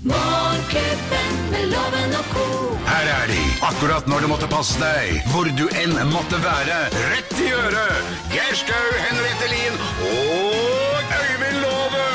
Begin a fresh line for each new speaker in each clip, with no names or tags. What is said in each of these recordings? Morgenklubben med loven og ko.
Her er de, akkurat når du måtte passe deg, hvor du enn måtte være. Rett i øret! Geir Skau, Henriette Lien og Øyvind Låve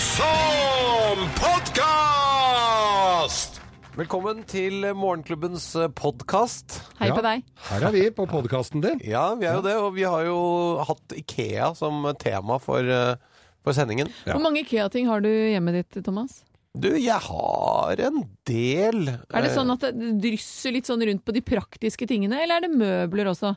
som podkast!
Velkommen til Morgenklubbens eh, podkast.
Hei på deg.
Her er vi på podkasten din.
Ja, vi er jo det, og vi har jo hatt Ikea som tema for, eh, for sendingen.
Hvor mange IKEA-ting har du hjemme ditt, Thomas?
Du, jeg har en del
Er det sånn at det drysser litt sånn rundt på de praktiske tingene, eller er det møbler også?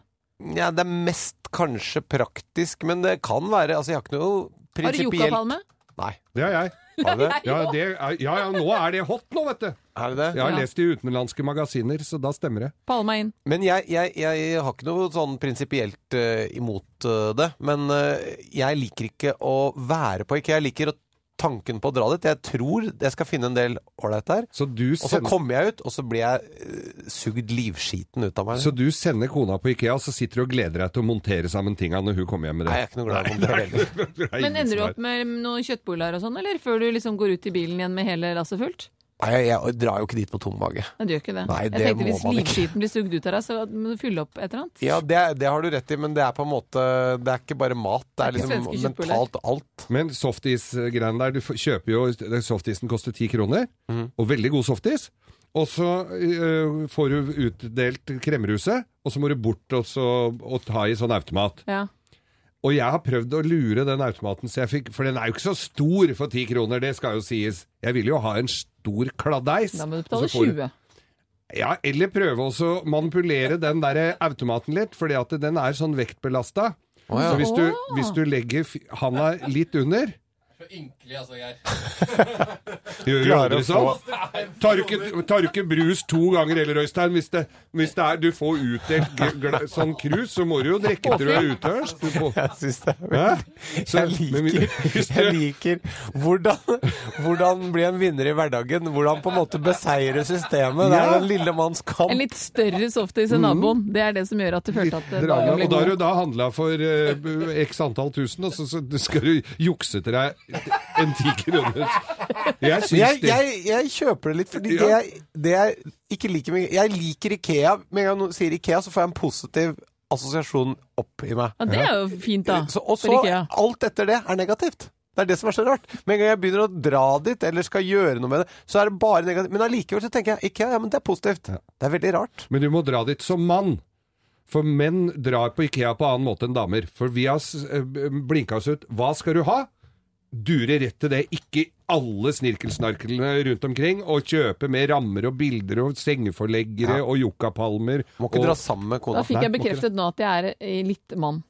Ja, det er mest kanskje praktisk, men det kan være Altså, jeg har ikke noe
Har du
prinsipielt
yucapalme?
Nei.
Det er jeg.
Har du det?
Ja, det er, ja, ja, nå er det hot nå, vet du.
Er det det?
Jeg har
Ja.
lest i utenlandske magasiner, så da stemmer det.
Palma inn.
Men jeg, jeg, jeg har ikke noe sånn prinsipielt eh, imot eh, det. Men eh, jeg liker ikke å være på IKEA. Jeg liker å- tanken på å dra dit. Jeg tror jeg skal finne en del ålreit der.
Så du,
Og så
send,
kommer jeg ut, og så blir jeg eh, sugd livskiten ut av meg.
så du sender kona på Ikea, og så sitter du og gleder deg til å montere sammen tinga når hun kommer hjem med
Nei,
det.
jeg er ikke noe glad i det heller.
Det er ingen
Men ender du
som er-
opp med noen kjøttboller og sånn, eller? Før du liksom går ut i bilen igjen med hele lasset fullt?
Nei, jeg, jeg drar jo ikke dit på tom mage.
Nei, du gjør ikke det.
Nei, det
Jeg tenkte
må
hvis
man ikke.
livskiten blir sugd ut av deg, så må du fylle opp et eller annet.
Ja, det, det har du rett i, men det er på en måte Det er ikke bare mat. Det er
Det er ikke
liksom
svenske kjøttboller.
mentalt alt.
Men softis-greiene der, du f- kjøper jo det- Softisen koster ti kroner, og veldig god softis. Og så øh, får du utdelt kremruset, og så må du bort og, så, og ta i sånn automat.
Ja.
Og jeg har prøvd å lure den automaten, så jeg fikk, for den er jo ikke så stor for 10 kroner, det skal jo sies. Jeg vil jo ha en stor kladdeis.
Da må du
og
betale
så får du-
20.
Ja, eller prøve også å manipulere den der automaten litt, fordi at den er sånn vektbelasta.
ja.
Så hvis du,
Åh.
hvis du legger f- handa litt under
Ynkelig, altså, Geir.
Gjør du
Klarer
aldri
å få-
sånn? Tar ikke, tar ikke brus to ganger heller, Øystein. Hvis det, hvis det er du får utdelt gl- gl- sånn krus, så må du jo drikke til du er utørst. Du får-
Jeg syns det er
Hæ? Så-
Jeg
men vi-
liker,
hvis
jeg
du-
liker hvordan, hvordan bli en vinner i hverdagen. Hvordan på en måte beseire systemet. Det er
Ja.
den lille manns kamp.
En litt større softis enn naboen. Det er det som gjør at du følte at eh,
Dra
dagen
med, Mm.
ble
og da har
god.
du da handla for eh, b- x antall tusen, og så, så skal du jukse til deg en ti kroner. Jeg
Men
syns
jeg,
det
jeg, jeg kjøper det litt, fordi det,
Ja.
jeg, det jeg ikke liker med Jeg liker Ikea. Med en gang noen sier Ikea, så får jeg en positiv assosiasjon opp i meg.
Ja, det er jo fint, da.
Så, og
for
så
IKEA.
alt etter det er negativt. Det er det som er så rart. Med en gang jeg begynner å dra dit, eller skal gjøre noe med det, så er det bare negativt. Men allikevel så tenker jeg Ikea, ja, men det er positivt. Det er veldig rart.
Men du må dra dit som mann. For menn drar på Ikea på annen måte enn damer. For vi har s- eh, blinka oss ut. Hva skal du ha? Dure rett til det. Ikke alle snirkelsnarklene rundt omkring. Og kjøpe med rammer og bilder og sengeforleggere og yuccapalmer.
Må ikke
og-
dra sammen med kona.
Da fikk
Nei,
jeg
må ikke det.
bekreftet nå at jeg er eh, litt mann.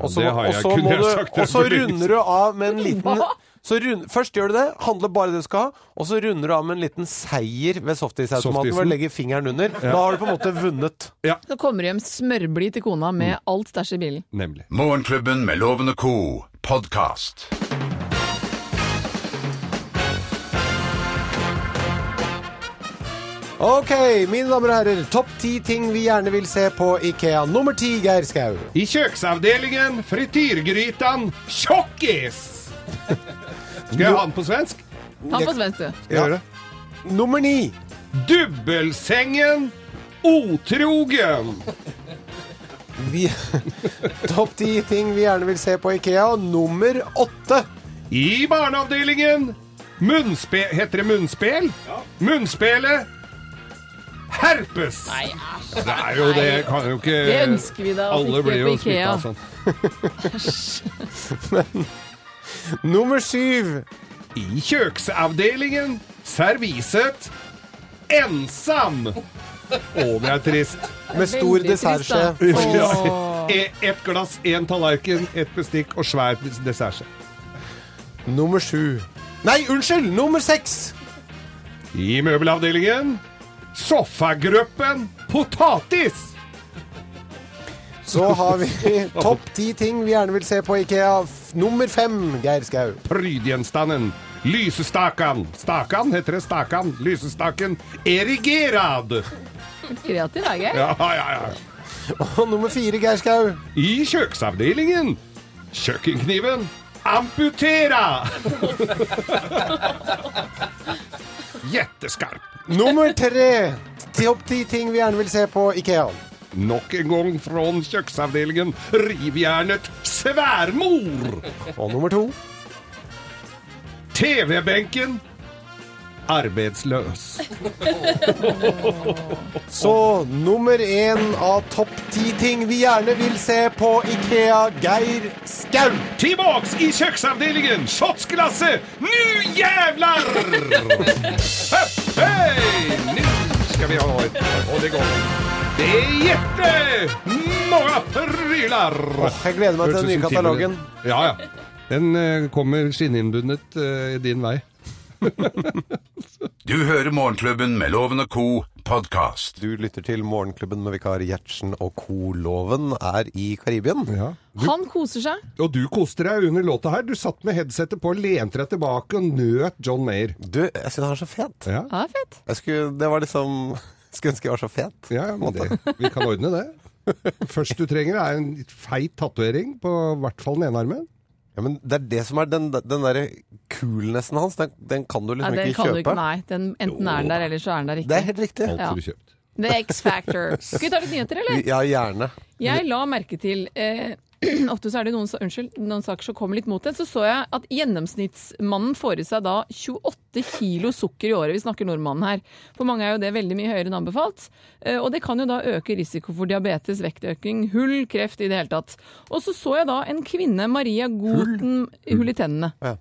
Ja,
Og så,
det har
og
jeg,
så
kunne
må
jeg
du-
sagt det
og så
for lenge
runder du av med en liten
Hva?
så rund, Først gjør du det, handler bare det du skal ha, og så runder du av med en liten seier ved softisautomaten
Softisen.
ved å legge fingeren under. Da har du på en måte vunnet.
Så kommer du hjem smørblid til kona med
Mm.
alt stæsj i bilen.
Nemlig.
Morgenklubben med Loven og Co. podkast.
Ok, mine damer og herrer, topp ti ting vi gjerne vil se på Ikea. Nummer ti, Geir Skau.
I kjøksavdelingen, frityrgrytan, tjokkis! Skal jeg ha den på svensk?
Ta på svensk, du.
Skal jeg gjøre det?
Nummer ni.
Dubbelsengen, otrogen!
Vi- Topp ti ting vi gjerne vil se på Ikea. Nummer åtte.
I barneavdelingen, munnspe... Heter det munnspel? Munnspelet herpes!
Nei, æsj.
Det er jo det, kan jo ikke
Det ønsker vi da, at
Alle
ikke
blir
på
jo
Ikea.
smitta sånn.
Nummer syv.
I kjøksavdelingen, serviset, ensam! Å, det er trist.
Med stor
Veldig trist, da.
dessertskje.
Åh.
E- Ett glass, én tallerken, ett bestikk og svær dessertskje.
Nummer sju. Nei, unnskyld! Nummer seks.
I møbelavdelingen sofagruppen potatis!
Så har vi topp ti ting vi gjerne vil se på Ikea. F- Nummer fem, Geir Skau.
Prydgjenstanden. Lysestakan. Stakan heter det. Stakan. Lysestaken. Erigerad.
Kreativ er gøy.
Ja, ja, ja.
Og nummer fire, Geir Skau.
I kjøksavdelingen kjøkkenkniven amputera! Jetteskarp.
Nummer tre. Ti opp ti ting vi gjerne vil se på Ikea.
Nok en gang fra kjøkkenavdelingen rivjernet sværmor.
Og nummer to.
TV-benken arbeidsløs.
Så nummer én av topp ti ting vi gjerne vil se på Ikea, Geir Skau.
Tilbaks i kjøkkenavdelingen! Shotsglasset! Nu jævlar! Høpp, Hei! Nu skal vi ha et Og det går. Det er jettemånga prylar!
jeg gleder meg til
Hørtes
den nye
ut som
katalogen.
Timberland. Ja, ja. Den eh, kommer skinninnbundet eh, din vei.
Du hører Morgenklubben med Loven og Co. podkast.
Du lytter til Morgenklubben med vikar Gjertsen og co-loven er i Karibien.
Ja.
Han koser seg.
Og du koste deg under låta her. Du satt med headsetet på, lente deg tilbake og nøt John Mayer.
Du, jeg syns han er så fet.
Ja,
Ja, det er fett.
Jeg skulle, det var liksom Skulle ønske jeg var så fet.
ja men det, vi kan ordne det. Først du trenger er en feit tatovering på i hvert fall den ene armen.
Ja, men det er det som er den, den derre coolnessen hans. Den, den kan du
Ja,
liksom
den
ikke
kan du
kjøpe.
ikke, nei. Den, enten er den der, eller så er den der
Det
ikke.
er helt riktig.
Alt
Ja.
får du kjøpt.
Det er X-Factor. Skal vi ta litt nyheter, eller?
Ja, gjerne.
Jeg la merke til eh, Ofte så er det noen, sa- unnskyld, noen saker som kommer litt mot en. Så så jeg at gjennomsnittsmannen får i seg da 28 kilo sukker i året. Vi snakker nordmannen her. For mange er jo det veldig mye høyere enn anbefalt. Eh, og det kan jo da øke risiko for diabetes, vektøkning, hull, kreft i det hele tatt. Og så så jeg da en kvinne, Maria Goten Hull i tennene.
Ja.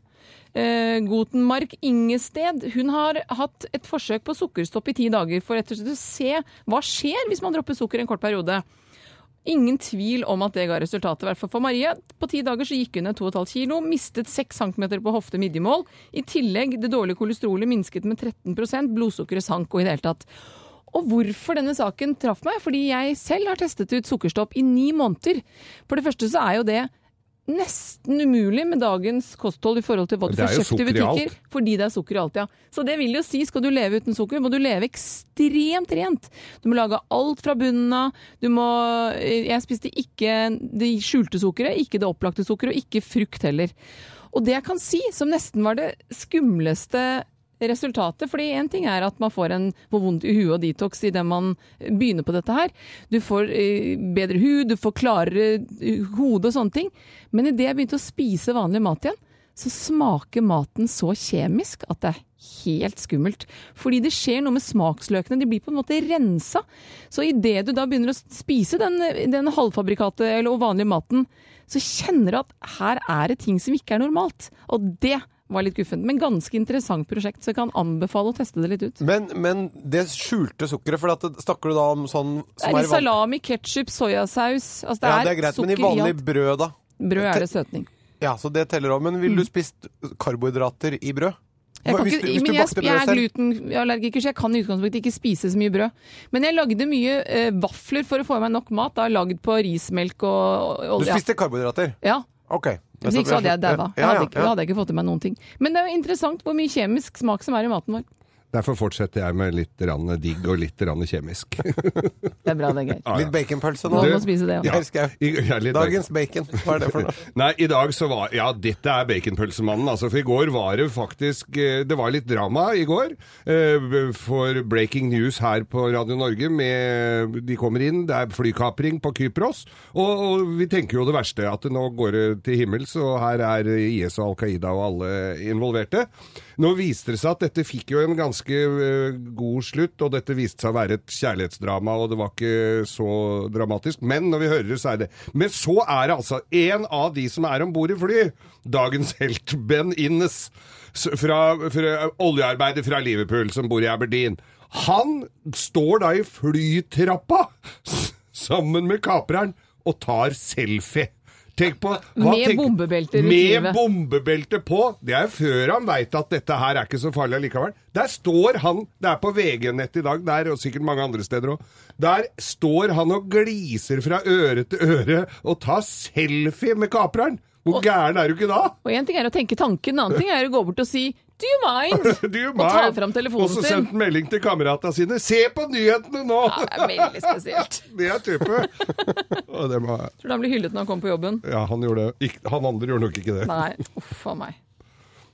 Eh, Gutenmark Ingested hun har hatt et forsøk på sukkerstopp i ti dager for rett og slett å se hva skjer hvis man dropper sukker en kort periode. Ingen tvil om at det ga resultatet, i hvert fall for Marie. På ti dager så gikk hun ned 2,5 kilo, mistet 6 cm på hofte-midjemål. I tillegg, det dårlige kolesterolet minsket med 13 blodsukkeret sank og i det hele tatt. Og hvorfor denne saken traff meg? Fordi jeg selv har testet ut sukkerstopp i ni måneder. For det første så er jo det nesten umulig med dagens kosthold i forhold til hva du
Det er jo
får kjøpt i
sukker i alt.
butikker. Fordi det er sukker i alt, ja. Så det vil jo si, skal du leve uten sukker, må du leve ekstremt rent. Du må lage alt fra bunnen av. Du må eh, Jeg spiste ikke det skjulte sukkeret, ikke det opplagte sukkeret, og ikke frukt heller. Og det jeg kan si, som nesten var det skumleste resultatet, fordi en ting er at man får en får vondt i huet og detox idet man begynner på dette her. Du får eh, bedre hud, du får klarere eh, hode og sånne ting. Men idet jeg begynte å spise vanlig mat igjen, så smaker maten så kjemisk at det er helt skummelt. Fordi det skjer noe med smaksløkene, de blir på en måte rensa. Så idet du da begynner å spise den, den halvfabrikate eller og vanlige maten, så kjenner du at her er det ting som ikke er normalt. Og det var litt guffent, men ganske interessant prosjekt, så jeg kan anbefale å teste det litt ut.
Men, men det skjulte sukkeret, for at, det- snakker du da om sånn
Det
som er i
er i
van-
salami, ketsjup, soyasaus. Altså det,
Ja,
er
det er greit, men i
sukker i
vanlig
alt.
brød, da?
Brød er det søtning.
Ja, så det teller òg. Men ville du spist karbohydrater i brød?
Mm. Jeg kan
Hvis
ikke,
du- hvis du
men jeg,
bakte brød
jeg er
selv?
glutenallergiker, så jeg kan i utgangspunktet ikke spise så mye brød. Men jeg lagde mye eh, vafler for å få i meg nok mat, da lagd på rismelk og, og
Du
olje.
spiste karbohydrater?
Ja.
OK.
Hvis ikke så hadde jeg daua. Jeg
Ja,
hadde
ja,
ikke- Da
ja.
hadde jeg ikke fått i meg noen ting. Men det er jo interessant hvor mye kjemisk smak som er i maten vår.
Derfor fortsetter jeg med litt rann digg og litt rann kjemisk.
Det er bra, det, Geir.
Litt baconpølse
Nå
nå.
Du-
må spise det, ja.
Ja.
Geir Skau.
I- ja, litt
Dagens bacon. Hva er det for noe?
Nei, i dag så var Ja, dette er baconpølsemannen, altså. For i går var det faktisk eh, Det var litt drama i går. eh, For breaking news her på Radio Norge med De kommer inn, det er flykapring på Kypros. Og, og vi tenker jo det verste, at nå går det til himmels, og her er IS og Al Qaida og alle involverte. Nå viste det seg at dette fikk jo en ganske eh, god slutt, og dette viste seg å være et kjærlighetsdrama, og det var ikke så dramatisk. Men når vi hører det, så er det Men så er det altså en av de som er om bord i fly, dagens helt Ben Innes, s- fra, fra oljearbeider fra Liverpool, som bor i Aberdeen. Han står da i flytrappa s- sammen med kapreren og tar selfie. Tenk på, hva
Med bombebelter i
Med
livet.
bombebelte på. Det er før han veit at dette her er ikke så farlig allikevel. Der står han, det er på VG-nett i dag, der og sikkert mange andre steder òg, der står han og gliser fra øre til øre og tar selfie med kapreren. Hvor gæren er du ikke da?
Og én ting er å tenke tanken, en annen ting er å gå bort og si Do you mind?
Du,
og ta
meg.
fram
og
telefonen
så
sin.
sendte han melding til kameratene sine. Se på nyhetene nå!
Ja, det er veldig spesielt.
Det er type. Og det må-
Tror du han blir hyllet når han kommer på jobben?
ja, han, gjorde, det. Ikke- han andre gjorde nok ikke det.
Nei, uff a meg.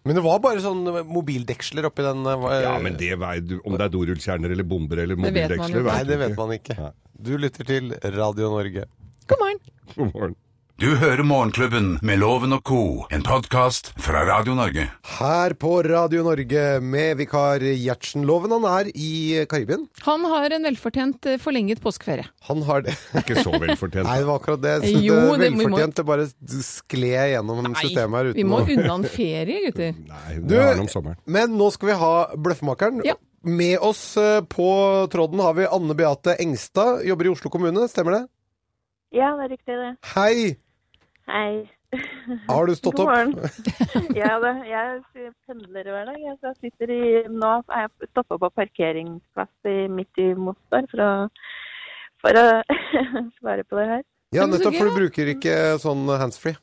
Men det var bare sånn mobildeksler oppi den eh,
Ja, men det vei, du- om det er dorullkjerner eller bomber eller
Det vet man
mobildeksler
jo.
vet
Nei,
du
det
ikke.
vet man ikke.
Nei.
Du lytter til Radio Norge.
God morgen.
God morgen.
Du hører Morgenklubben med Loven og Co., en podkast fra Radio Norge.
Her på Radio Norge med vikar Gjertsen Loven. Han er i Karibien.
Han har en velfortjent eh, forlenget påskeferie.
Han har det.
Ikke så velfortjent.
Nei, det var akkurat det. Jeg synes
Jo,
det
det-
er
vi må-
velfortjent. Det bare skled gjennom systemet her uten
vi må
å-
unna en ferie, gutter.
Nei,
Du,
det har han om sommeren.
men nå skal vi ha Bløffmakeren.
Ja.
Med oss eh, på tråden har vi Anne Beate Engstad, jobber i Oslo kommune, stemmer det?
Ja, det er riktig det.
Hei!
Hei.
Har du stått
God
opp?
morgen. ja, det, jeg pendler hver dag. jeg, så Jeg sitter i, nå er jeg stoppa på parkeringsplass i, midt i Mostar for å, for å svare på det her.
Ja,
Men så
nettopp,
gøy,
for du
da.
bruker ikke sånn handsfree.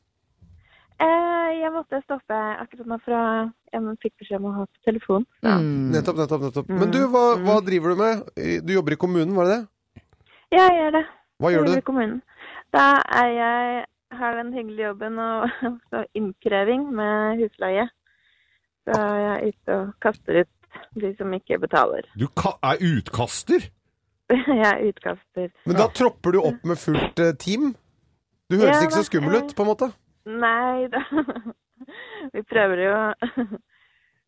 Eh, jeg måtte stoppe akkurat nå, for å- jeg fikk beskjed om å ha på telefon.
Mm.
Nettopp, nettopp, nettopp. Men du, hva, hva driver du med? Du jobber i kommunen, var det det?
Ja, jeg gjør det.
Hva gjør du?
Jeg jobber i kommunen. Da er jeg, har den hyggelige jobben og så innkreving med husleie. Så jeg er ute og kaster ut de som ikke betaler.
Du ka er utkaster?
Jeg er utkaster.
Men da tropper du opp med fullt eh, team? Du høres
Ja,
ikke så
da-
skummel ut, på en måte.
Nei da. Vi prøver jo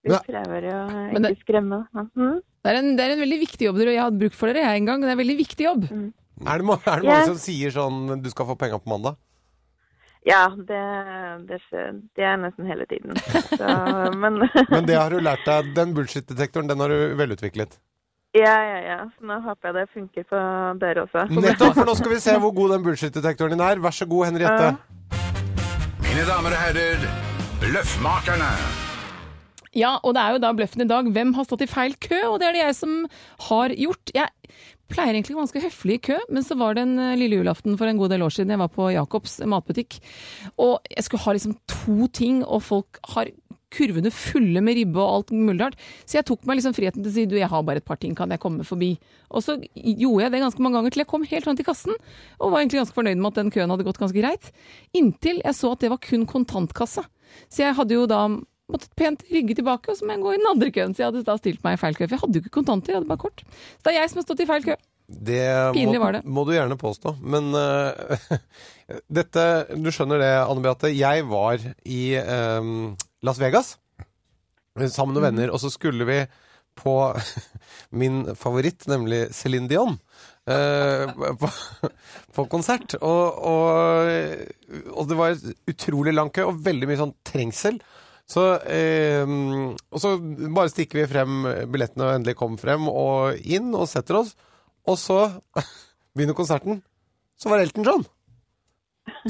Vi
Men-
prøver jo å
Men
ikke
det-
skremme. Mhm.
Det, er en, det er en veldig viktig jobb, dere. Jeg hadde bruk for dere jeg en gang. Det er en veldig viktig jobb.
Er det, ma- er det
Ja.
mange som sier sånn 'du skal få penga på mandag'?
Ja, det, det, skjer- det er nesten hele tiden. Så, men
Men det har du lært deg. Den bullshit-detektoren, den har du velutviklet.
ja, ja, ja. Så nå håper jeg det funker på dere også.
Nettopp, for nå skal vi se hvor god den bullshit-detektoren din er. Vær så god, Henriette.
Ja.
Mine damer og herrer, Bløffmakerne.
Ja, og det er jo da bløffen i dag. Hvem har stått i feil kø? Og det er det jeg som har gjort. Jeg pleier egentlig ganske høflig i kø, men så var det en eh, lille julaften for en god del år siden jeg var på Jacobs matbutikk. Og jeg skulle ha liksom to ting, og folk har kurvene fulle med ribbe og alt mulig rart. Så jeg tok meg liksom friheten til å si du, jeg har bare et par ting, kan jeg komme forbi? Og så gjorde jeg det ganske mange ganger til jeg kom helt fram til kassen, og var egentlig ganske fornøyd med at den køen hadde gått ganske greit. Inntil jeg så at det var kun kontantkasse. Så jeg hadde jo da måtte pent rygge tilbake, og så må jeg gå i den andre køen. Så jeg hadde da stilt meg i feil kø, for jeg hadde jo ikke kontanter, jeg hadde bare kort. Så det er jeg som har stått i feil kø.
Det
Pinlig
må,
var det.
må du gjerne påstå. Men eh, dette Du skjønner det, Anne Beate. Jeg var i eh, Las Vegas eh, sammen
Mhm.
med venner, og så skulle vi på min favoritt, nemlig Céline Dion. eh, på, på konsert. Og, og, og Altså, det var utrolig lang kø, og veldig mye sånn trengsel. Så, eh, og så bare stikker vi frem billettene og endelig kom frem og inn og setter oss. Og så begynner konserten. Så var det Elton John.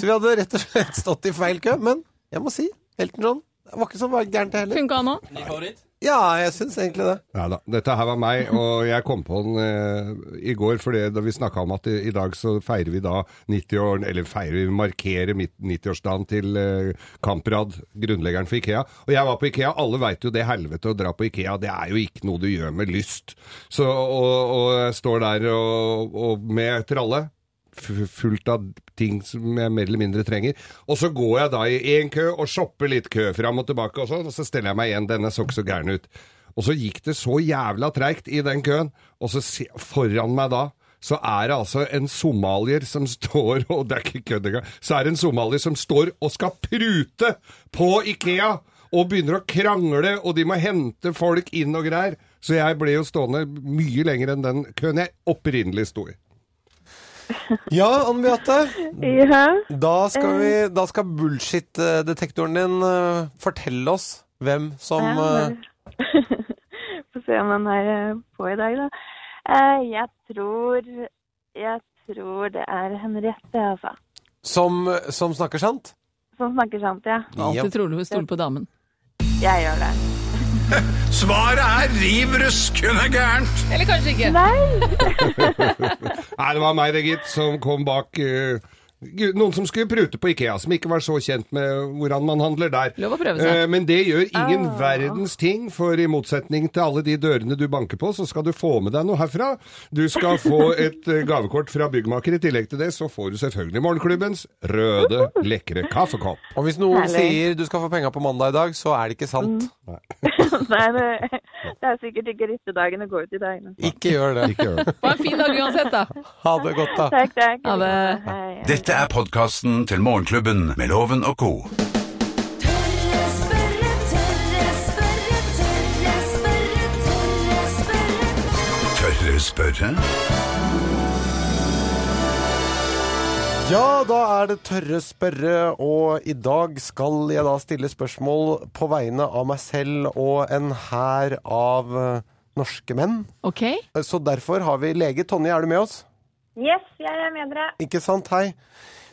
Så vi hadde rett og slett stått i feil kø. Men jeg må si, Elton John det var ikke så gærent, det heller.
Funka nå?
Ny favoritt?
Ja, jeg syns egentlig det.
Nei da. Dette her var meg, og jeg kom på den eh, i går. For det, da vi snakka om at i, i dag så feirer vi da 90-åren, eller feirer vi markerer mitt- 90-årsdagen til eh, Kamprad, grunnleggeren for Ikea. Og jeg var på Ikea. Alle veit jo det helvete å dra på Ikea. Det er jo ikke noe du gjør med lyst. Så, og, og jeg står der og, og med tralle f- fullt av ting som jeg mer eller mindre trenger. Og så går jeg da i én kø og shopper litt kø fram og tilbake og sånn, og så steller jeg meg igjen. Denne så ikke så gæren ut. Og så gikk det så jævla treigt i den køen, og så se, foran meg da så er det altså en somalier som står Og det er ikke kødd engang. Så er det en somalier som står og skal prute på Ikea! Og begynner å krangle, og de må hente folk inn og greier. Så jeg ble jo stående mye lenger enn den køen jeg opprinnelig sto i.
Ja, Anne Beate.
Ja.
Da skal, vi, da skal bullshit-detektoren din eh, fortelle oss hvem som
Ja,
eh,
bare- Får se om den er eh, på i dag, da. Eh, Jeg tror Jeg tror det er Henriette, altså.
som, som snakker sant.
Som snakker sant, ja.
Ja.
Alltid trolig å stole på damen.
Jeg gjør det.
Svaret er riv ruskende gærent.
Eller kanskje ikke.
Nei!
Nei, det var meg, det, gitt, som kom bak eh, Gud, Noen som skulle prute på Ikea, som ikke var så kjent med hvordan man handler der.
Lov å prøve seg. Ah.
Eh, Men det gjør ingen verdens ting, for i motsetning til alle de dørene du banker på, så skal du få med deg noe herfra. Du skal få et eh, gavekort fra byggmaker. I tillegg til det så får du selvfølgelig morgenklubbens røde, lekre kaffekopp.
Og hvis noen
Herlig.
sier du skal få penga på mandag i dag, så er det ikke sant.
Nei, det, det er sikkert ikke ryttedagen å gå ut i dagene.
Ikke gjør det.
Ikke gjør det.
Ha en fin dag uansett, da.
Ha det godt, da.
Takk, takk.
Ha det.
Hei.
Dette er podkasten til Morgenklubben med Loven og co.
Tørre spørre, tørre spørre, tørre spørre, tørre spørre.
Tørre spørre?
Ja, da er det tørre spørre, og i dag skal jeg da stille spørsmål på vegne av meg selv og en hær av eh, norske menn.
OK?
Eh, Så derfor har vi lege. Tonje, er du med oss?
Yes, jeg er med dere.
Ikke sant? Hei.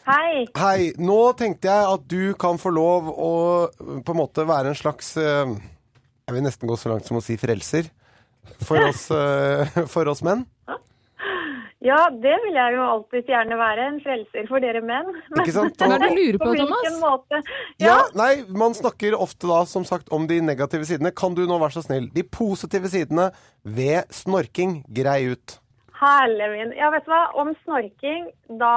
Hei.
Hei, nå tenkte jeg at du kan få lov å eh, på en måte være en slags eh, Jeg vil nesten gå så langt som å si frelser for oss, eh, for oss menn.
Ja, det vil jeg jo alltid gjerne være. En frelser for dere menn. Men
Ikke sant?
Hva er det du lurer på,
på hvilken
Thomas?
måte?
Ja,
Ja,
nei, man snakker ofte da som sagt om de negative sidene. Kan du nå være så snill? De positive sidene ved snorking, grei ut.
herlig min. Ja, vet du hva? Om snorking, da,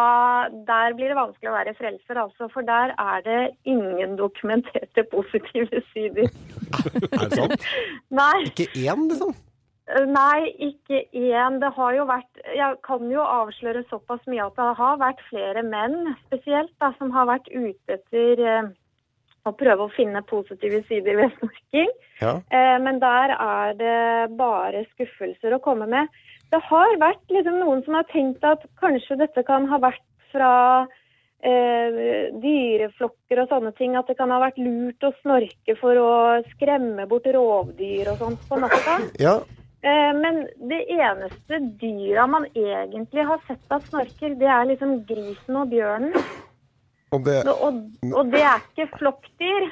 der blir det vanskelig å være frelser, altså. For der er det ingen dokumenterte positive sider.
Er det sant?
Nei.
Ikke én, liksom?
Nei, ikke én. Det har jo vært Jeg kan jo avsløre såpass mye at det har vært flere menn spesielt da, som har vært ute etter eh, å prøve å finne positive sider ved snorking.
Ja.
Eh, men der er det bare skuffelser å komme med. Det har vært liksom noen som har tenkt at kanskje dette kan ha vært fra eh, dyreflokker og sånne ting. At det kan ha vært lurt å snorke for å skremme bort rovdyr og sånt på natta.
ja.
Eh, Men det eneste dyra man egentlig har sett av snorker, det er liksom grisen og bjørnen.
Og det
Og, og det er ikke flokkdyr.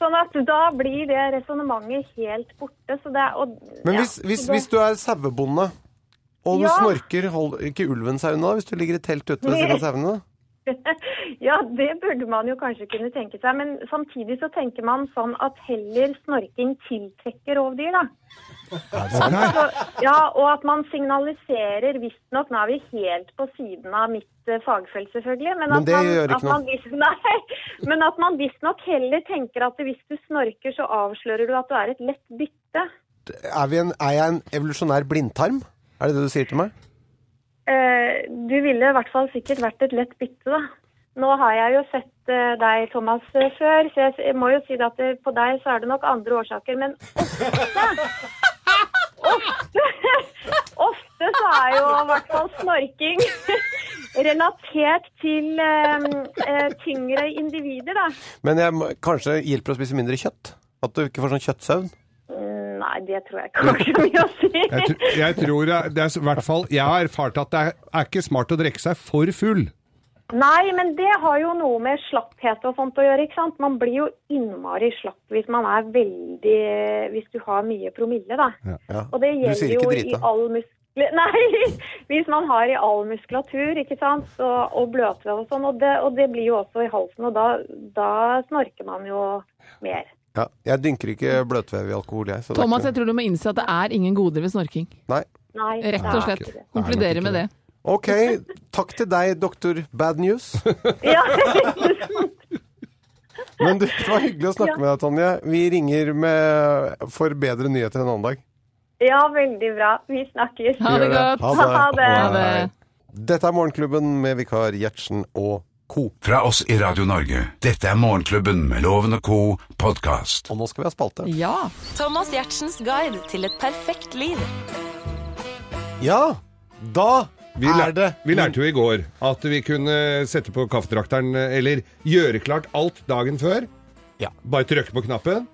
Sånn at da blir det resonnementet helt borte. Så det er, og,
Men
ja,
hvis, hvis,
så det-
hvis du er sauebonde, og du
Ja.
snorker, holder ikke ulven seg unna hvis du ligger i telt ute ved siden av sauene? da?
Ja, det burde man jo kanskje kunne tenke seg. Men samtidig så tenker man sånn at heller snorking tiltrekker rovdyr, da. Så, Altså, ja, og at man signaliserer visstnok Nå er vi helt på siden av mitt eh, fagfelt, selvfølgelig. Men,
Men
at
det
man,
gjør ikke
at man vis- Nei, men at man visstnok heller tenker at hvis du snorker, så avslører du at du er et lett bytte.
Er, vi en, er jeg en evolusjonær blindtarm? Er det det du sier til meg?
Eh, du ville i hvert fall sikkert vært et lett bytte, da. Nå har jeg jo sett eh, deg, Thomas, eh, før, så jeg s- jeg må jo si det at eh, på deg så er det nok andre årsaker, men ofte Ofte, ofte så er jo i hvert fall snorking relatert til eh, eh, tyngre individer, da.
Men jeg, må- kanskje hjelper å spise mindre kjøtt? At du ikke får sånn kjøttsøvn?
Mm, Nei, det tror jeg ikke har så mye å si.
Jeg, tr- jeg tror jeg, det er s- i hvert fall Jeg har erfart at det er, er ikke smart å drikke seg for full.
Nei, men det har jo noe med slapphet og sånt å gjøre, ikke sant? Man blir jo innmari slapp hvis man er veldig Hvis du har mye promille, da.
Ja.
Og det
Du sier
gjelder
ikke
jo i
drita.
all muskler... Nei! Hvis man har i all muskulatur, ikke sant, så, og bløtvev og sånn. Og det, og det blir jo også i halsen, og da, da snorker man jo mer.
Ja. Jeg dynker ikke bløtvev i alkohol, jeg. Så det er
Thomas,
ikke-
jeg tror du må innse at det er ingen goder ved snorking.
Nei.
Nei.
Rett og slett. Konkluderer med det.
OK, takk til deg, doktor Bad News.
Ja.
Men du, det var hyggelig å snakke med deg, Tonje. Vi ringer med, for bedre nyheter en annen dag.
ja, veldig bra. Vi snakkes.
Ha det
Gjør det.
godt.
Ha det.
Ha det.
Ha det.
Dette er Morgenklubben med vikar Gjertsen og co.
Fra oss i Radio Norge. Dette er Morgenklubben med Loven og co. podkast.
Og nå skal vi ha spalte.
Ja.
Thomas Gjertsens guide til et perfekt liv.
Ja, da
Vi,
er
lær,
det
vi lærte jo i går at vi kunne sette på kaffetrakteren eller gjøre klart alt dagen før.
Ja.
Bare trykke på knappen.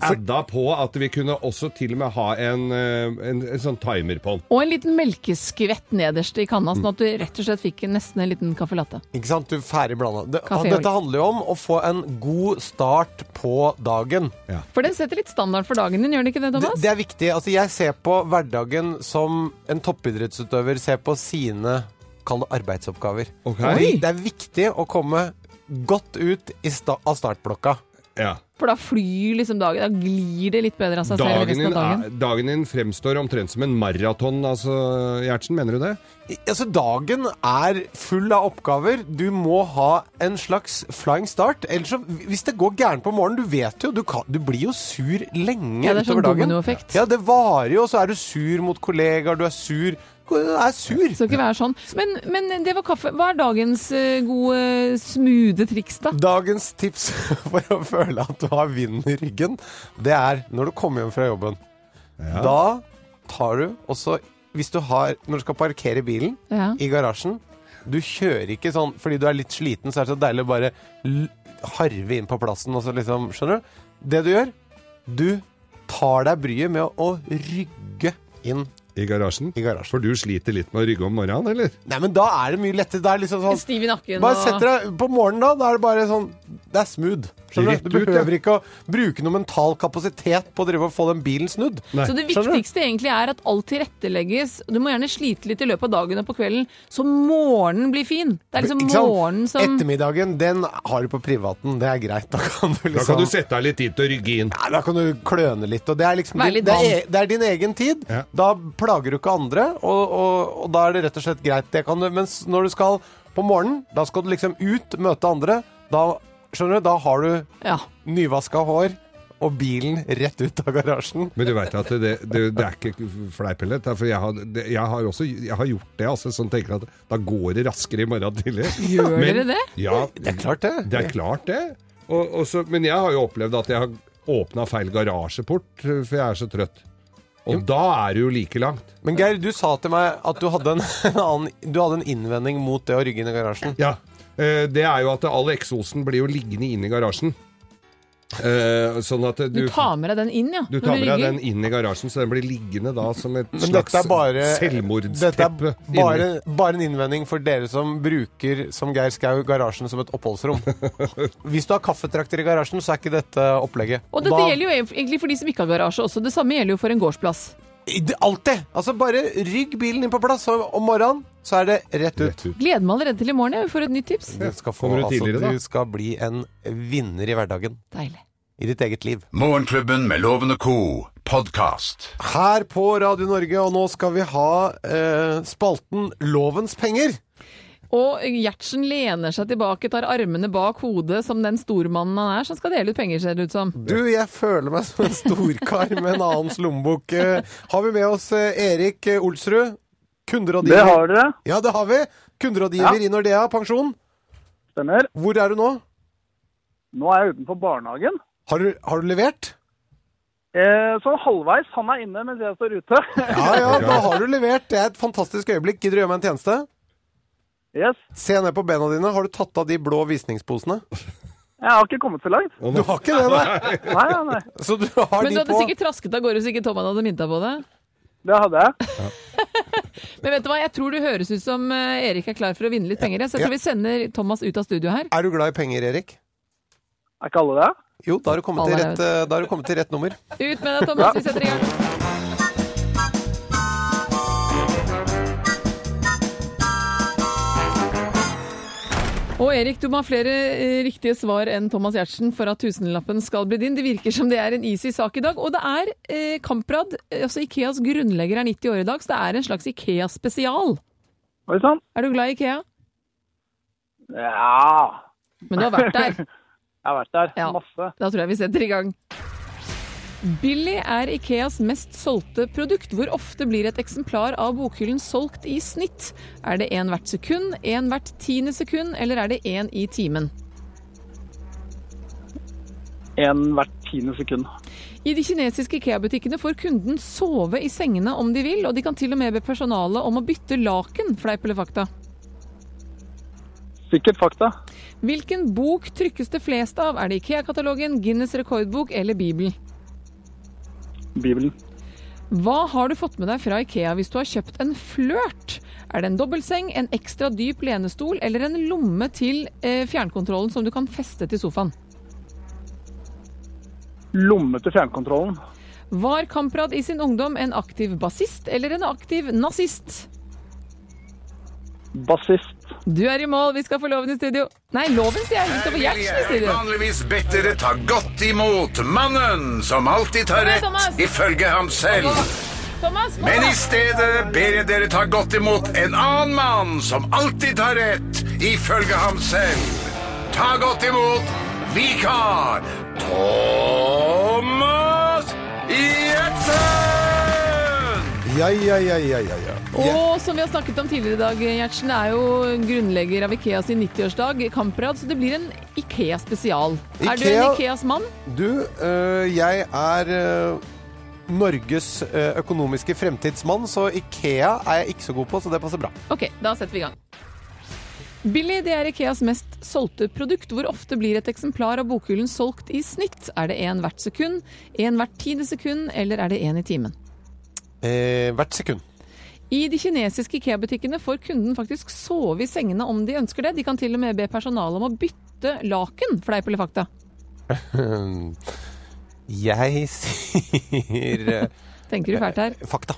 Adda på at vi kunne også til og med ha en, eh, en, en sånn timer på den.
Og en liten melkeskvett nederst i kanna, sånn at du rett og slett fikk nesten en liten caffè latte.
Ikke sant, du ferdig blanda. Det,
Kaffe og
dette handler jo om å få en god start på dagen.
For den setter litt standard for dagen din, gjør den ikke det,
Det,
Thomas?
det er viktig. Altså, jeg ser på hverdagen som en toppidrettsutøver ser på sine kall det arbeidsoppgaver.
Ok.
Det er viktig å komme godt ut i sta av startblokka.
Ja.
For da flyr liksom dagen. Da glir det litt bedre av seg selv
Dagen
resten
din,
av dagen.
er, dagen din fremstår omtrent som en maraton, altså, Gjertsen. Mener du det?
I- Altså, dagen er full av oppgaver. Du må ha en slags flying start. Ellers så, hvis det går gærent på morgenen Du vet jo, du, kan, du blir jo sur lenge
Ja, det er sånn
utover dagen.
dominoeffekt.
Ja, det varer jo, og så er du sur mot kollegaer, du er sur Du er sur.
Skal ikke være sånn. Men, men det var kaffe. Hva er dagens eh, gode, smoothe triks, da?
Mm. Dagens tips for å føle at du har vinden i ryggen, det er når du kommer hjem fra jobben. Da tar du også Hvis du har Når du skal parkere bilen
Ja.
i garasjen Du kjører ikke sånn fordi du er litt sliten, så er det så deilig å bare l- harve inn på plassen og så liksom Skjønner du? Det du gjør, du tar deg bryet med å, å rygge inn
I garasjen?
i garasjen.
For du sliter litt med å rygge om morgenen, eller?
Nei, men da er det mye lettere. Da er det liksom sånn
Stiv i nakken
Bare sett deg på morgenen, da. Da er det bare sånn Det er smooth. Skjønner
Rett
du? Du
ut, ja.
behøver ikke å bruke noe mental kapasitet på å drive og få den bilen snudd.
Nei.
Så det
Skjønner du?
viktigste egentlig er at alt tilrettelegges. Du må gjerne slite litt i løpet av dagen og på kvelden, så morgenen blir fin. Det er liksom
Ikke sant?
morgenen som
Ettermiddagen, den har du på privaten. Det er greit. Da kan du
Da
liksom
kan du sette deg litt dit og rygge inn.
Nei, da kan du kløne litt. Og det er liksom
Være
din,
litt
det, er, det er din egen tid.
Ja.
Da plager du ikke andre, og, og, og da er det rett og slett greit. Det kan du, mens når du skal på morgenen, da skal du liksom ut, møte andre. Da, skjønner du, da har du
Ja.
nyvaska hår og bilen rett ut av garasjen.
Men du veit at det, det, det er ikke fleip heller. det er For jeg har, det, jeg har også jeg har gjort det, altså. Sånn tenker at da går det raskere i morgen tidlig.
Gjør
Men-
dere det?
Ja,
Det er klart, det.
det er klart det. Og, og så, men jeg har jo opplevd at jeg har åpna feil garasjeport, for jeg er så trøtt. Og da er det jo like langt.
Men Geir, du sa til meg at du hadde en, en annen Du hadde en innvending mot det å rygge inn i garasjen.
Ja. eh, Det er jo at all eksosen blir jo liggende inne i garasjen. Eh, Sånn at
Du
du
tar med deg den inn, ja.
Du
når
tar med deg
rygger.
den inn i garasjen, så den blir liggende da som et
Men
slags
dette er bare Dette
selvmordsteppe.
er bare, bare en innvending for dere som bruker, som Geir Skau, garasjen som et oppholdsrom. Hvis du har kaffetrakter i garasjen, så er ikke dette opplegget.
Og dette gjelder jo egentlig for de som ikke har garasje også. Det samme gjelder jo for en gårdsplass.
jo Alltid! Altså, bare rygg bilen inn på plass, og om morgenen så er det rett ut.
Rett ut.
Gleder meg allerede til i morgen, jeg, for et nytt tips.
Du skal, få,
Kommer du
altså,
tidligere, da?
du skal bli en vinner i hverdagen.
Deilig.
I ditt eget liv.
Morgenklubben med Loven og Co. Podcast.
her på Radio Norge, og nå skal vi ha eh, spalten Lovens penger.
Og Gjertsen lener seg tilbake, tar armene bak hodet som den stormannen han er, som skal dele ut penger, ser det ut som.
Du, jeg føler meg som en storkar med en annens lommebok. Eh, har vi med oss eh, Erik eh, Olsrud? Kunderådgiver.
Det har dere,
Ja, det har vi. Kunderådgiver i Nordea pensjon.
stemmer.
Hvor er du nå?
Nå er jeg utenfor barnehagen.
Har du, har du levert?
Eh, så halvveis, han er inne mens jeg står ute.
Ja, ja, da har du levert. Det er et fantastisk øyeblikk. Gidder du gjøre meg en tjeneste?
Yes,
Se ned på bena dine. Har du tatt av de blå visningsposene?
jeg har ikke kommet så langt.
Du har ikke det, nei.
Nei, nei, nei.
Så du har
Men du
de
hadde
på.
sikkert trasket av gårde hvis ikke Tomman hadde minnet deg på det.
Det hadde jeg.
Men vet du hva, jeg tror du høres ut som eh, Erik er klar for å vinne litt penger. jeg. Så jeg tror vi sender Thomas ut av studio her.
Er du glad i penger, Erik?
Er ikke alle det?
Jo, da har du kommet, til
Alle er
rett, eh, da har du kommet til rett nummer.
Ut med deg, Thomas. Vi setter i gang. Og Erik, du må ha flere eh, riktige svar enn Thomas Giertsen for at tusenlappen skal bli din. Det virker som det er en easy sak i dag. Og det er eh, Kamprad, eh, altså Ikeas grunnlegger er 90 år i dag, så det er en slags Ikea-spesial.
Oi sann.
Er du glad i Ikea?
Ja,
Men du har vært der.
jeg har vært der.
Ja.
Masse.
Da tror jeg vi setter i gang. Billy er Ikeas mest solgte produkt. Hvor ofte blir et eksemplar av bokhyllen solgt i snitt? Er det én hvert sekund, én hvert tiende sekund, eller er det én i timen?
En hvert tiende sekund.
I de kinesiske Ikea-butikkene får kunden sove i sengene om de vil, og de kan til og med be personalet om å bytte laken, fleip eller fakta.
Sikkert fakta.
Hvilken bok trykkes det flest av? Er det Ikea-katalogen, Guinness rekordbok eller Bibelen?
Bibelen.
Hva har du fått med deg fra Ikea hvis du har kjøpt en flørt? Er det en dobbeltseng, en ekstra dyp lenestol eller en lomme til eh, fjernkontrollen som du kan feste til sofaen?
Lomme til fjernkontrollen.
Var Kamprad i sin ungdom en aktiv bassist eller en aktiv nazist?
Bassist.
Du er i mål, vi skal få loven i studio. Nei, loven, sier jeg. Vi skal få Gjertsen i studio.
Vanligvis bedt dere ta godt imot mannen som alltid tar
igjen, Thomas.
rett, ifølge ham selv.
Thomas, kom
Men
da!
i stedet ber jeg dere ta godt imot en annen mann som alltid tar rett, ifølge ham selv. Ta godt imot vikar Thomas Gjertsen!
Ja, ja, ja, ja, ja, ja.
Og som vi har snakket om tidligere i dag, Gjertsen er jo grunnlegger av Ikea sin 90-årsdag, Kamprad, så det blir en Ikea-spesial. Er du en
Ikea-
Ikeas mann?
Du, øh, jeg er øh, Norges øh, økonomiske fremtidsmann, så Ikea er jeg ikke så god på, så det passer bra.
Ok, da setter vi i gang. Billy det er Ikeas mest solgte produkt. Hvor ofte blir et eksemplar av bokhyllen solgt i snitt? Er det én hvert sekund, én hvert tiende sekund, eller er det én i timen?
Eh, hvert sekund.
I de kinesiske Ikea-butikkene får kunden faktisk sove i sengene om de ønsker det. De kan til og med be personalet om å bytte laken, fleip eller fakta.
Jeg sier øh,
Tenker du fælt her?
fakta.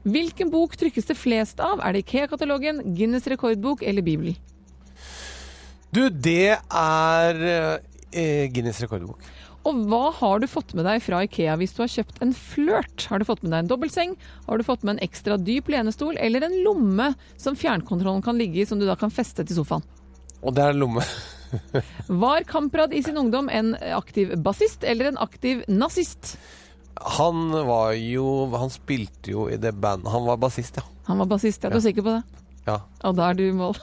Hvilken bok trykkes det flest av? Er det Ikea-katalogen, Guinness rekordbok eller Bibelen?
Du, det er øh, Guinness rekordbok.
Og hva har du fått med deg fra Ikea hvis du har kjøpt en flørt? Har du fått med deg en dobbeltseng? Har du fått med en ekstra dyp lenestol? Eller en lomme som fjernkontrollen kan ligge i, som du da kan feste til sofaen?
Og det er lomme.
Var Kamprad i sin ungdom en aktiv bassist eller en aktiv nazist?
Han var jo Han spilte jo i det bandet Han var bassist, ja.
Han var bassist, er du sikker på det?
Ja.
Og da er du i mål.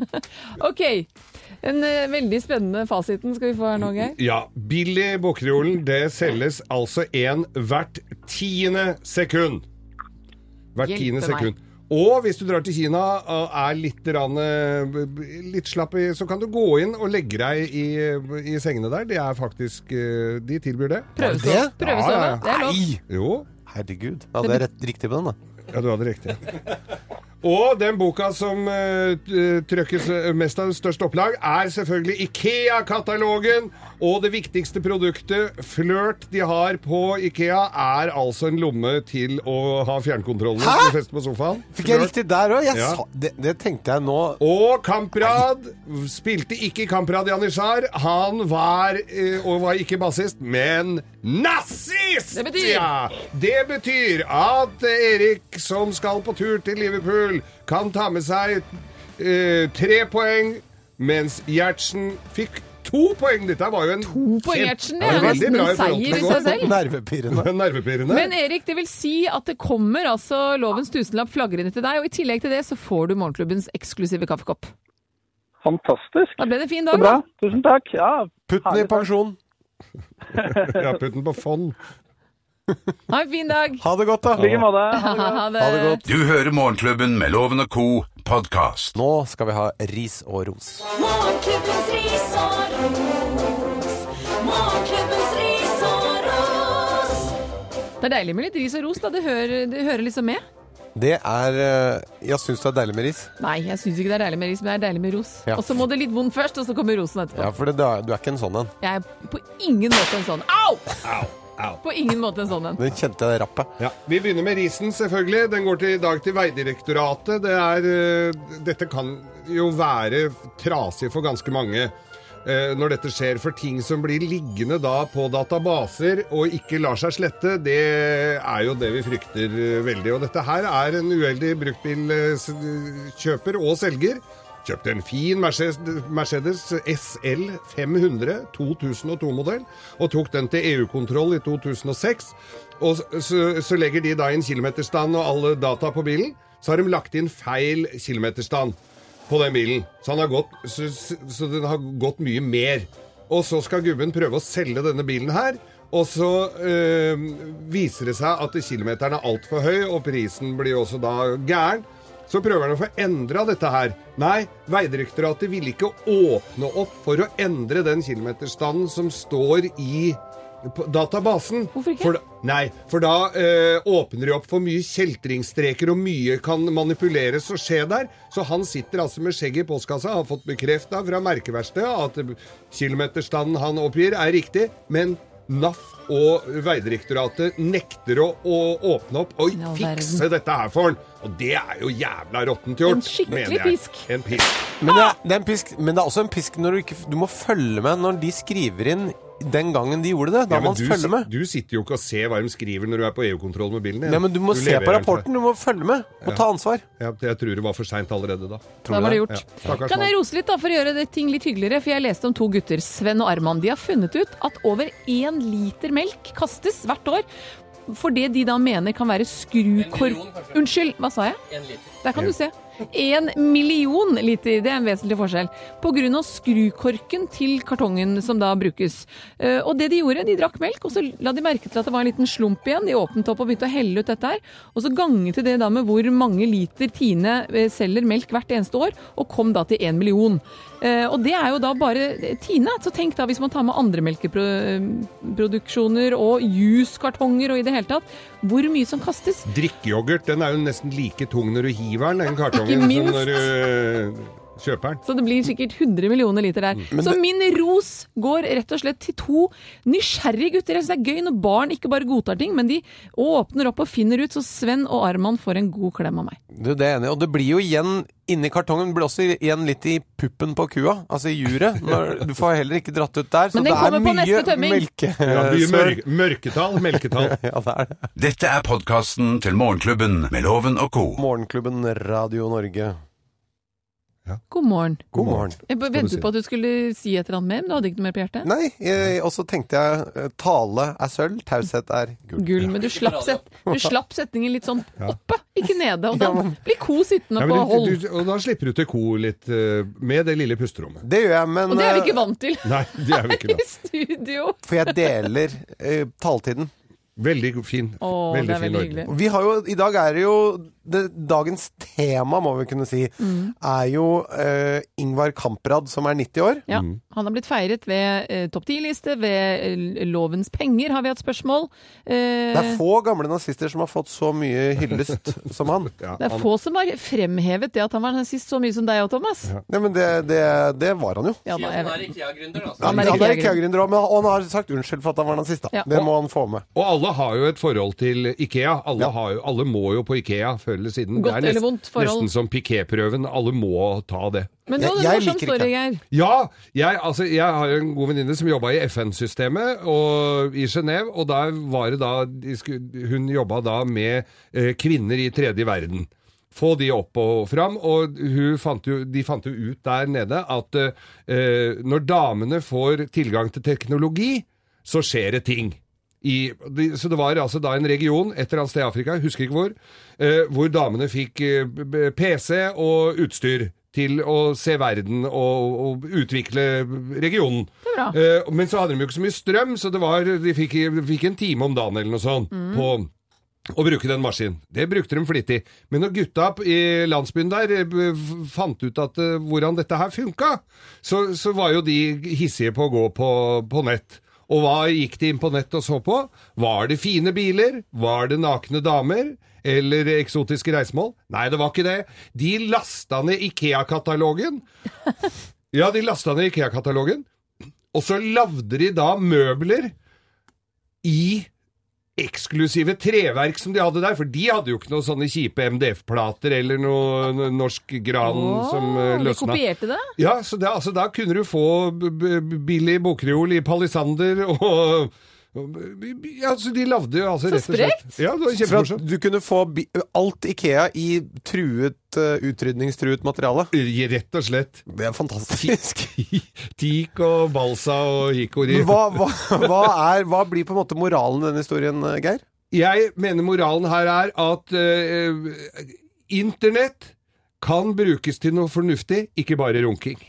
ok. Den eh, veldig spennende fasiten skal vi få her nå, Geir.
Ja, billig bokreolen, det selges altså en hvert tiende sekund. Hvert
Hjelpe
tiende
meg.
sekund. Og hvis du drar til Kina og er litt, grann, eh, b- b- litt slapp, i, så kan du gå inn og legge deg i, i sengene der. Det er faktisk eh, De tilbyr det.
Prøvesove.
det?
Prøvesove.
Ja, ja.
Det er lov.
Jo.
Herregud. Ja, det er rett, riktig på den, da.
Ja, du hadde riktig. Og den boka som eh, t- trykkes eh, mest av størst opplag, er selvfølgelig Ikea-katalogen. Og det viktigste produktet, flørt, de har på Ikea, er altså en lomme til å ha fjernkontrollen
Hæ?
til å feste på sofaen.
Fikk jeg
Flørt.
riktig der òg?
Ja.
Det, det tenkte jeg nå.
Og Kamprad spilte ikke Kamprad Janishar. Han var, eh, og var ikke bassist, men nazist!
Det betyr?
Ja. Det betyr at eh, Erik, som skal på tur til Liverpool, kan ta med seg eh, tre poeng, mens Gjertsen fikk to poeng. Dette var jo en
To poeng, Gjertsen. Det
Ja,
er
veldig
nesten
bra i
en
forhold til
seier i
går.
seg selv.
Nervepirrende.
Nervepirrende.
Men Erik, det vil si at det kommer altså lovens tusenlapp flagrende til deg, og i tillegg til det så får du Morgenklubbens eksklusive kaffekopp.
Fantastisk.
Da ble det en fin
Så
dag.
bra.
da.
Tusen takk. Ja,
Putt den i pensjon.
Ja, putt den på fond.
Ha en fin dag.
Ha det godt,
i like
da.
måte. Ha det bra.
Ha
Ha det godt.
Du hører Morgenklubben med Loven og Co. podkast.
Nå skal vi ha ris og ros.
Morgenklubbens ris og ros. Morgenklubbens ris og ros.
Det er deilig med litt ris og ros, da. Det hører, det hører liksom med.
Det er eh, Jeg syns det er deilig med ris.
Nei, jeg syns ikke det er deilig med ris, men det er deilig med ros.
Ja.
Og så må det litt vondt først, og så kommer rosen etterpå.
Ja, for det, du er ikke en sånn en.
Jeg er på ingen måte en sånn. Au!
Au.
På ingen måte en sånn en.
Den kjente jeg rappet.
Ja, Vi begynner med risen, selvfølgelig. Den går til, i dag til Vegdirektoratet. Det er, eh, dette kan jo være trasig for ganske mange eh, når dette skjer. For ting som blir liggende da på databaser og ikke lar seg slette, det er jo det vi frykter eh, veldig. Og dette her er en uheldig bruktbilkjøper og selger. Kjøpte en fin Mercedes, Mercedes SL 500 2002-modell og tok den til EU-kontroll i 2006. Og så, så legger de da inn kilometerstand og alle data på bilen. Så har de lagt inn feil kilometerstand på den bilen. Så, han har gått, så, så- så den har gått mye mer. Og så skal gubben prøve å selge denne bilen her. Og så eh, viser det seg at kilometeren er altfor høy, og prisen blir også da gæren. Så prøver han å få endra dette her. Nei, Vegdirektoratet ville ikke åpne opp for å endre den kilometerstanden som står i på databasen.
Hvorfor ikke?
For da- Nei, for da eh, åpner de opp for mye kjeltringstreker, og mye kan manipuleres og skje der. Så han sitter altså med skjegget i postkassa, har fått bekrefta fra merkeverkstedet at eh, kilometerstanden han oppgir, er riktig, men NAF og Vegdirektoratet nekter å, å åpne opp og
all
fikse dette her for han. Og det er jo jævla råttent
En
gjort,
skikkelig
mener jeg.
pisk.
En pisk.
Men det, er, det er en pisk, men det er også en pisk når du ikke Du må følge med når de skriver inn den gangen de gjorde det. Da
Ja,
må
men
man
du,
følge med.
du sitter jo ikke og ser hva de skriver når du er på EU-kontroll med bilen din.
Nei, men du må se
leverer
på
den
rapporten.
til
Du må følge med. Må ta ansvar.
deg. Ja, jeg tror det var for seint allerede da.
Da var det gjort.
Ja, stakkars
Kan jeg
mann.
rose litt da, for å gjøre det ting litt hyggeligere? For jeg leste om to gutter, Sven og Arman. De har funnet ut at over én liter melk kastes hvert år. For det de da mener kan være skrukork...
million, kanskje.
Unnskyld, hva sa jeg?
En liter.
Der kan du se. Én million liter, det er en vesentlig forskjell. Pga. skrukorken til kartongen som da brukes. Eh, Og det de gjorde, de drakk melk, og så la de merke til at det var en liten slump igjen. De åpnet opp og begynte å helle ut dette her. Og så ganget de det da med hvor mange liter Tine eh, selger melk hvert eneste år, og kom da til én million. Eh, Og det er jo da bare eh, Tine. Så tenk da hvis man tar med andre melkeproduksjoner og juskartonger og i det hele tatt, hvor mye som kastes.
Drikkeyoghurt den er jo nesten like tung når du hiver den, den kartongen,
Ikke minst.
som når du øh, kjøper den.
Så det blir sikkert 100 millioner liter der. så min ros går rett og slett til to nysgjerrige gutter. Jeg synes det er gøy når barn ikke bare godtar ting, men de åpner opp og finner ut. Så Sven og Arman får en god klem av meg.
Du, det er enig. Og det blir jo igjen inni kartongen det blir også igjen litt i puppen på kua. Altså i juret. Når- Du får heller ikke dratt ut der. Så
Men den
det er
kommer på
mye
neste tømming.
melke...
Ja, mye
smør.
mørk, mørketall, melketall.
Ja, det er det.
Dette er podkasten til Morgenklubben med Loven og co.
Morgenklubben Radio Norge.
God morgen.
God morgen.
Jeg bare
Skal du
ventet
si.
på at du skulle si et eller annet mer, men du hadde ikke noe mer på hjertet?
Nei, jeg- og så tenkte jeg eh, tale er sølv, taushet er gull.
Gull, men du slapp, set, du slapp setningen litt sånn oppe, ikke nede. Og
Ja,
da
men-
blir ko sittende
Ja,
på
men
hold.
du, du, og da slipper du til ko litt øh, med det lille pusterommet.
Det gjør jeg, men
Og det er vi
eh,
ikke vant til
Nei, det er vi ikke
i
da.
studio.
For jeg deler eh, taletiden.
Veldig go- fin.
Å, det
veldig
er
fin
veldig
ordning.
hyggelig.
Vi har jo, I dag er det jo det, Dagens tema, må vi kunne si,
Mm.
er jo eh, Ingvar Kamprad, som er 90 år.
Ja,
Mm.
Han har blitt feiret ved eh, topp 10-liste, ved eh, Lovens penger har vi hatt spørsmål. Eh,
Det er få gamle nazister som har fått så mye hyllest som han.
Ja,
Det er få som har fremhevet det at han var nazist så mye som deg og Thomas.
Nei, men det, det, det var han jo.
Ja,
Si
da,
at han
jeg
er
vet.
IKEA-gründer, da.
Han
Han
er
er
IKEA-gründer òg, men han- og han har sagt unnskyld for at han var nazist. da.
Ja.
Det må han få med.
Og alle har jo et forhold til Ikea. Alle, har jo, alle må jo på Ikea før eller siden.
Godt eller vondt forhold.
Nesten som Piquet-prøven. Alle må ta det.
Men det var
Jeg-
en
jeg
morsom
liker ikke
story, Geir.
Ja! Jeg, altså, jeg har en god venninne som jobba i FN-systemet og, i Genéve. Og der var det da de skulle, Hun jobba da med eh, kvinner i tredje verden. Få de opp og fram. Og hun fant jo, de fant jo ut der nede at eh, når damene får tilgang til teknologi, så skjer det ting. I, de, så det var altså da en region et eller annet sted i Afrika, jeg husker ikke hvor, eh, hvor damene fikk eh, b- b- PC og utstyr til å se verden og, og utvikle regionen.
er bra.
Eh, men så hadde de jo ikke så mye strøm, så det var, de fikk, fikk en time om dagen eller noe sånt
Mm.
på å bruke den maskinen. Det brukte de flittig. Men når gutta p- i landsbyen der eh, b- f- fant ut at, eh, hvordan dette her funka, så, så var jo de hissige på å gå på, på nett. Og hva gikk de inn på nett og så på? Var det fine biler? Var det nakne damer? Eller eksotiske reisemål? Nei, det var ikke det. De lasta ned Ikea-katalogen. Ja, de lasta ned Ikea-katalogen. Og så lagde de da møbler i eksklusive treverk som de hadde der, for de hadde jo ikke noen sånne kjipe MDF-plater eller noe n- norsk gran som eh,
Åh, de
løsna.
kopierte det.
Ja, så det, altså, da kunne du få b- b- billig bokreol i palisander og og- ja, så De lagde jo altså
Så
rett og slett
sprekt!
Ja, det var
For at
kjempemorsomt.
du kunne få bi alt Ikea i truet, eh, utrydningstruet materiale.
Rett og slett.
Det er fantastisk.
Teak og balsa og hikori.
Hva, hva, hva, er, hva blir på en måte moralen i denne historien, eh, Geir?
Jeg mener moralen her er at eh, internett kan brukes til noe fornuftig, ikke bare runking.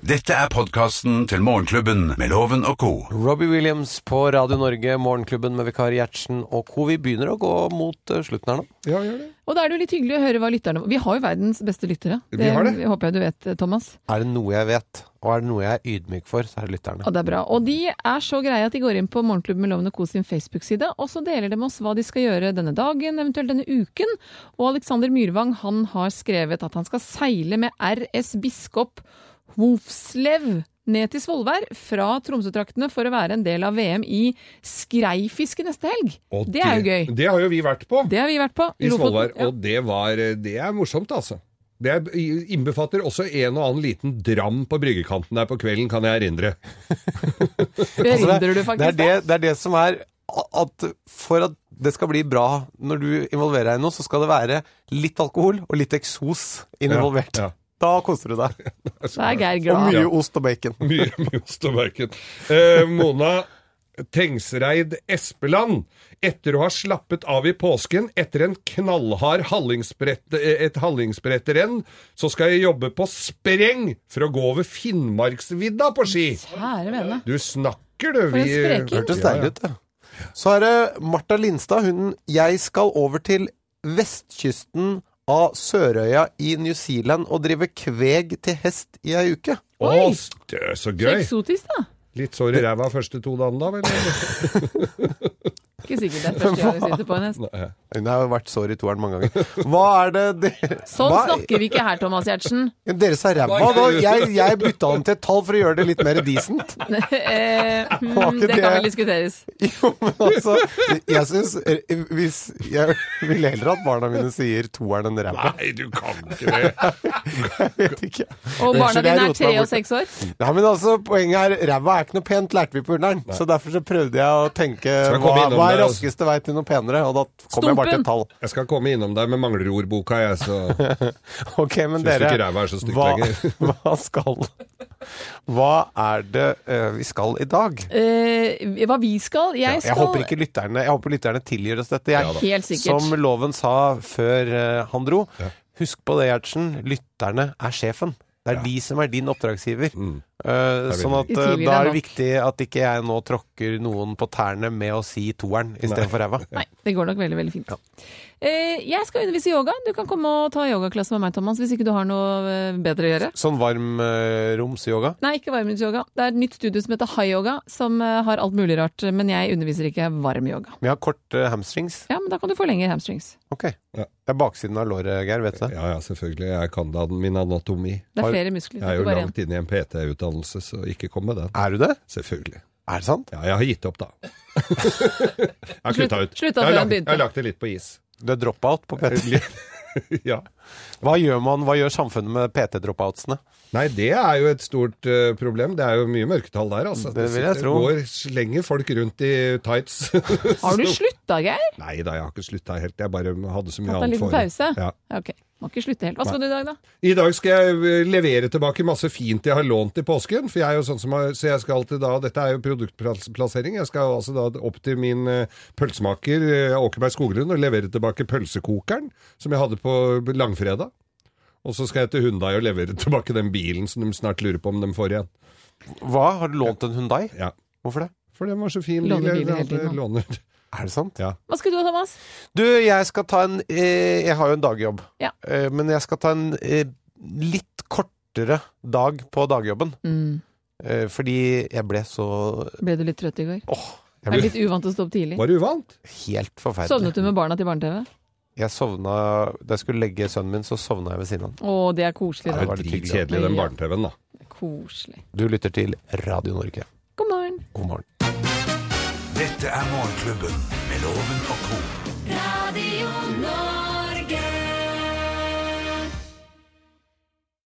Dette er podkasten til Morgenklubben med Loven og co.
Robbie Williams på Radio Norge, Morgenklubben med vikar Gjertsen og co. Vi begynner å gå mot eh, slutten her nå.
Ja, gjør det.
Og da er det jo litt hyggelig å høre hva lytterne Vi har jo verdens beste lyttere.
Vi har det.
håper jeg du vet, Thomas.
Er det noe jeg vet, og er det noe jeg er ydmyk for, så er det lytterne.
Ja, det er bra. Og de er så greie at de går inn på Morgenklubben med Loven og Co sin Facebook-side, og så deler de med oss hva de skal gjøre denne dagen, eventuelt denne uken. Og Alexander Myrvang han har skrevet at han skal seile med RS Biskop Hofslev ned til Svolvær fra Tromsø-traktene for å være en del av VM i skreifiske neste helg.
Og
det er jo gøy.
Det har jo vi vært på
Det har vi vært på.
i
Lofoten-
Svolvær,
ja.
og det, var, det er morsomt, altså. Det er- innbefatter også en og annen liten dram på bryggekanten der på kvelden, kan jeg erindre.
Berindrer
Altså, det,
du
det,
faktisk
er det, det er det som er a- at for at det skal bli bra når du involverer deg i noe, så skal det være litt alkohol og litt eksos involvert.
Ja, ja.
Da koser du deg.
Så er Geir
Og
glad.
mye ost og bacon.
Mye mye ost og bacon. Eh, Mona Tengsreid Espeland. Etter å ha slappet av i påsken etter en knallhard hallingsbrett, eh, et hallingsbrettrenn, så skal jeg jobbe på spreng for å gå over Finnmarksvidda på ski.
Kjære vene.
Du snakker, du.
For en spreking.
Hørtes deilig ut, det. Så er det Marta Lindstad. Hun Jeg skal over til vestkysten av Sørøya i New Zealand og drive kveg til hest i ei uke.
Å,
Oi.
stø, så
Så
gøy.
eksotisk, da.
Litt sår i ræva første to dagene, da, vel?
Ikke sikkert det er første gang jeg sitter på en hest.
Hun har jo vært sår i toeren mange ganger. Hva er det dere
Sånn
Hva-
snakker vi ikke her, Thomas Giertsen.
Dere sa ræva. da. Jeg, jeg bytta om til et tall for å gjøre det litt mer decent.
Eh,
Var
hmm,
ikke
det kan
det-
vel diskuteres.
Jo, men altså Jeg syns Hvis Jeg vil heller at barna mine sier toeren enn ræva.
Nei, du kan ikke det.
Jeg vet ikke.
Og barna
Unnskyld, jeg
dine
roter
er
meg
tre og
bort.
seks år.
Ja, men altså, poenget er ræva er ikke noe pent, lærte vi på Ullern. Så derfor så prøvde jeg å tenke
Skal jeg
hva,
komme innom
hva er
der, altså?
raskeste vei til noe penere, og da kom jeg bare til et tall.
Jeg skal komme innom deg med manglerordboka, jeg, så
Ok, men
Syns du
dere
ikke ræva er så stygt
hva,
lenger?
hva skal Hva er det eh, vi skal i dag?
Eh, hva vi skal? Jeg
Jeg
skal
håper ikke lytterne Jeg håper lytterne tilgir oss dette. Jeg,
Helt sikkert.
som loven sa før eh, han dro, husk på det, Gjertsen. Lytterne er sjefen. Det er de som er din oppdragsgiver.
Mm.
Eh,
Det er
sånn at
veldig
eh, da
viktig. Vi tilgir deg
er det
nok.
viktig at ikke jeg nå tråkker noen på tærne med å si toeren istedenfor ræva.
Nei, det går nok veldig veldig fint. Eh, jeg skal undervise i yoga. Du kan komme og ta yogaklasse med meg, Thomas, hvis ikke du har noe eh, bedre å gjøre.
Sånn varmromsyoga.
Nei, ikke varmromsyoga. Det er et nytt studio som heter High Yoga, som eh, har alt mulig rart. Men jeg underviser ikke varmyoga.
Vi har korte hamstrings.
Ja, men da kan du forlenge hamstrings.
Ok.
Ja.
Det er baksiden av låret, Geir. Vet du det?
Ja ja, selvfølgelig. Jeg kan da min anatomi.
Det
Har-
er flere muskler.
Jeg er jo
ikke bare én.
langt inne i en PT-utdannelse, så ikke kom med den.
Er du det?
Selvfølgelig.
Er det sant?
Ja, jeg har gitt opp, da. jeg har slutta ut.
slutta
jeg, har
før han
lagt,
begynte.
jeg har lagt det litt på is.
Du er dropout på PT.
Eh, ja.
Hva gjør man, hva gjør samfunnet med PT-dropoutsene?
Nei, det er jo et stort eh, problem. Det er jo mye mørketall der, altså.
Det vil jeg
sitter-
tro.
Går, slenger folk rundt i tights.
Har du slutta, Geir?
Nei da, jeg har ikke slutta helt. Jeg bare hadde så mye
Tatt en
annet
liten
for.
pause?
Ja.
Ja, Ok. Må ikke slutte helt. Hva skal du i dag, da?
I dag skal jeg eh, levere tilbake masse fint jeg har lånt i påsken. For jeg er jo sånn som har, så jeg skal alltid da, Dette er jo produktplassering. Jeg skal altså da opp til min eh, pølsemaker eh, Åkerberg Skoglund og levere tilbake pølsekokeren som jeg hadde på langfredag. Og så skal jeg til Hundai og levere tilbake den bilen som de snart lurer på om de får igjen.
Hva? Har du lånt en Hundai?
Ja,
Hvorfor det?
For den var så fin.
Låner
bil jeg
biler hele tiden,
hadde-
da.
låner.
Er det sant?
Ja.
Hva skal du, Thomas?
Du, jeg skal ta en eh, Jeg har jo en dagjobb.
Ja.
Eh, men jeg skal ta en eh, litt kortere dag på dagjobben.
Mm.
Eh, fordi jeg ble så
Ble du litt trøtt i går?
Åh,
Er du litt uvant til å stå opp tidlig?
Var det uvant?
helt forferdelig.
Sovnet du med barna til barne-TV?
Jeg sovna Da jeg skulle legge sønnen min, så sovna jeg ved siden av han.
Å, det er
Det
koselig.
Ja,
Da.
er
var litt hyggelig,
dritkjedelig, den barne-TV-en, da.
Koselig.
Du lytter til Radio Norge.
God morgen.
God morgen.
Dette er Morgenklubben med Loven og co.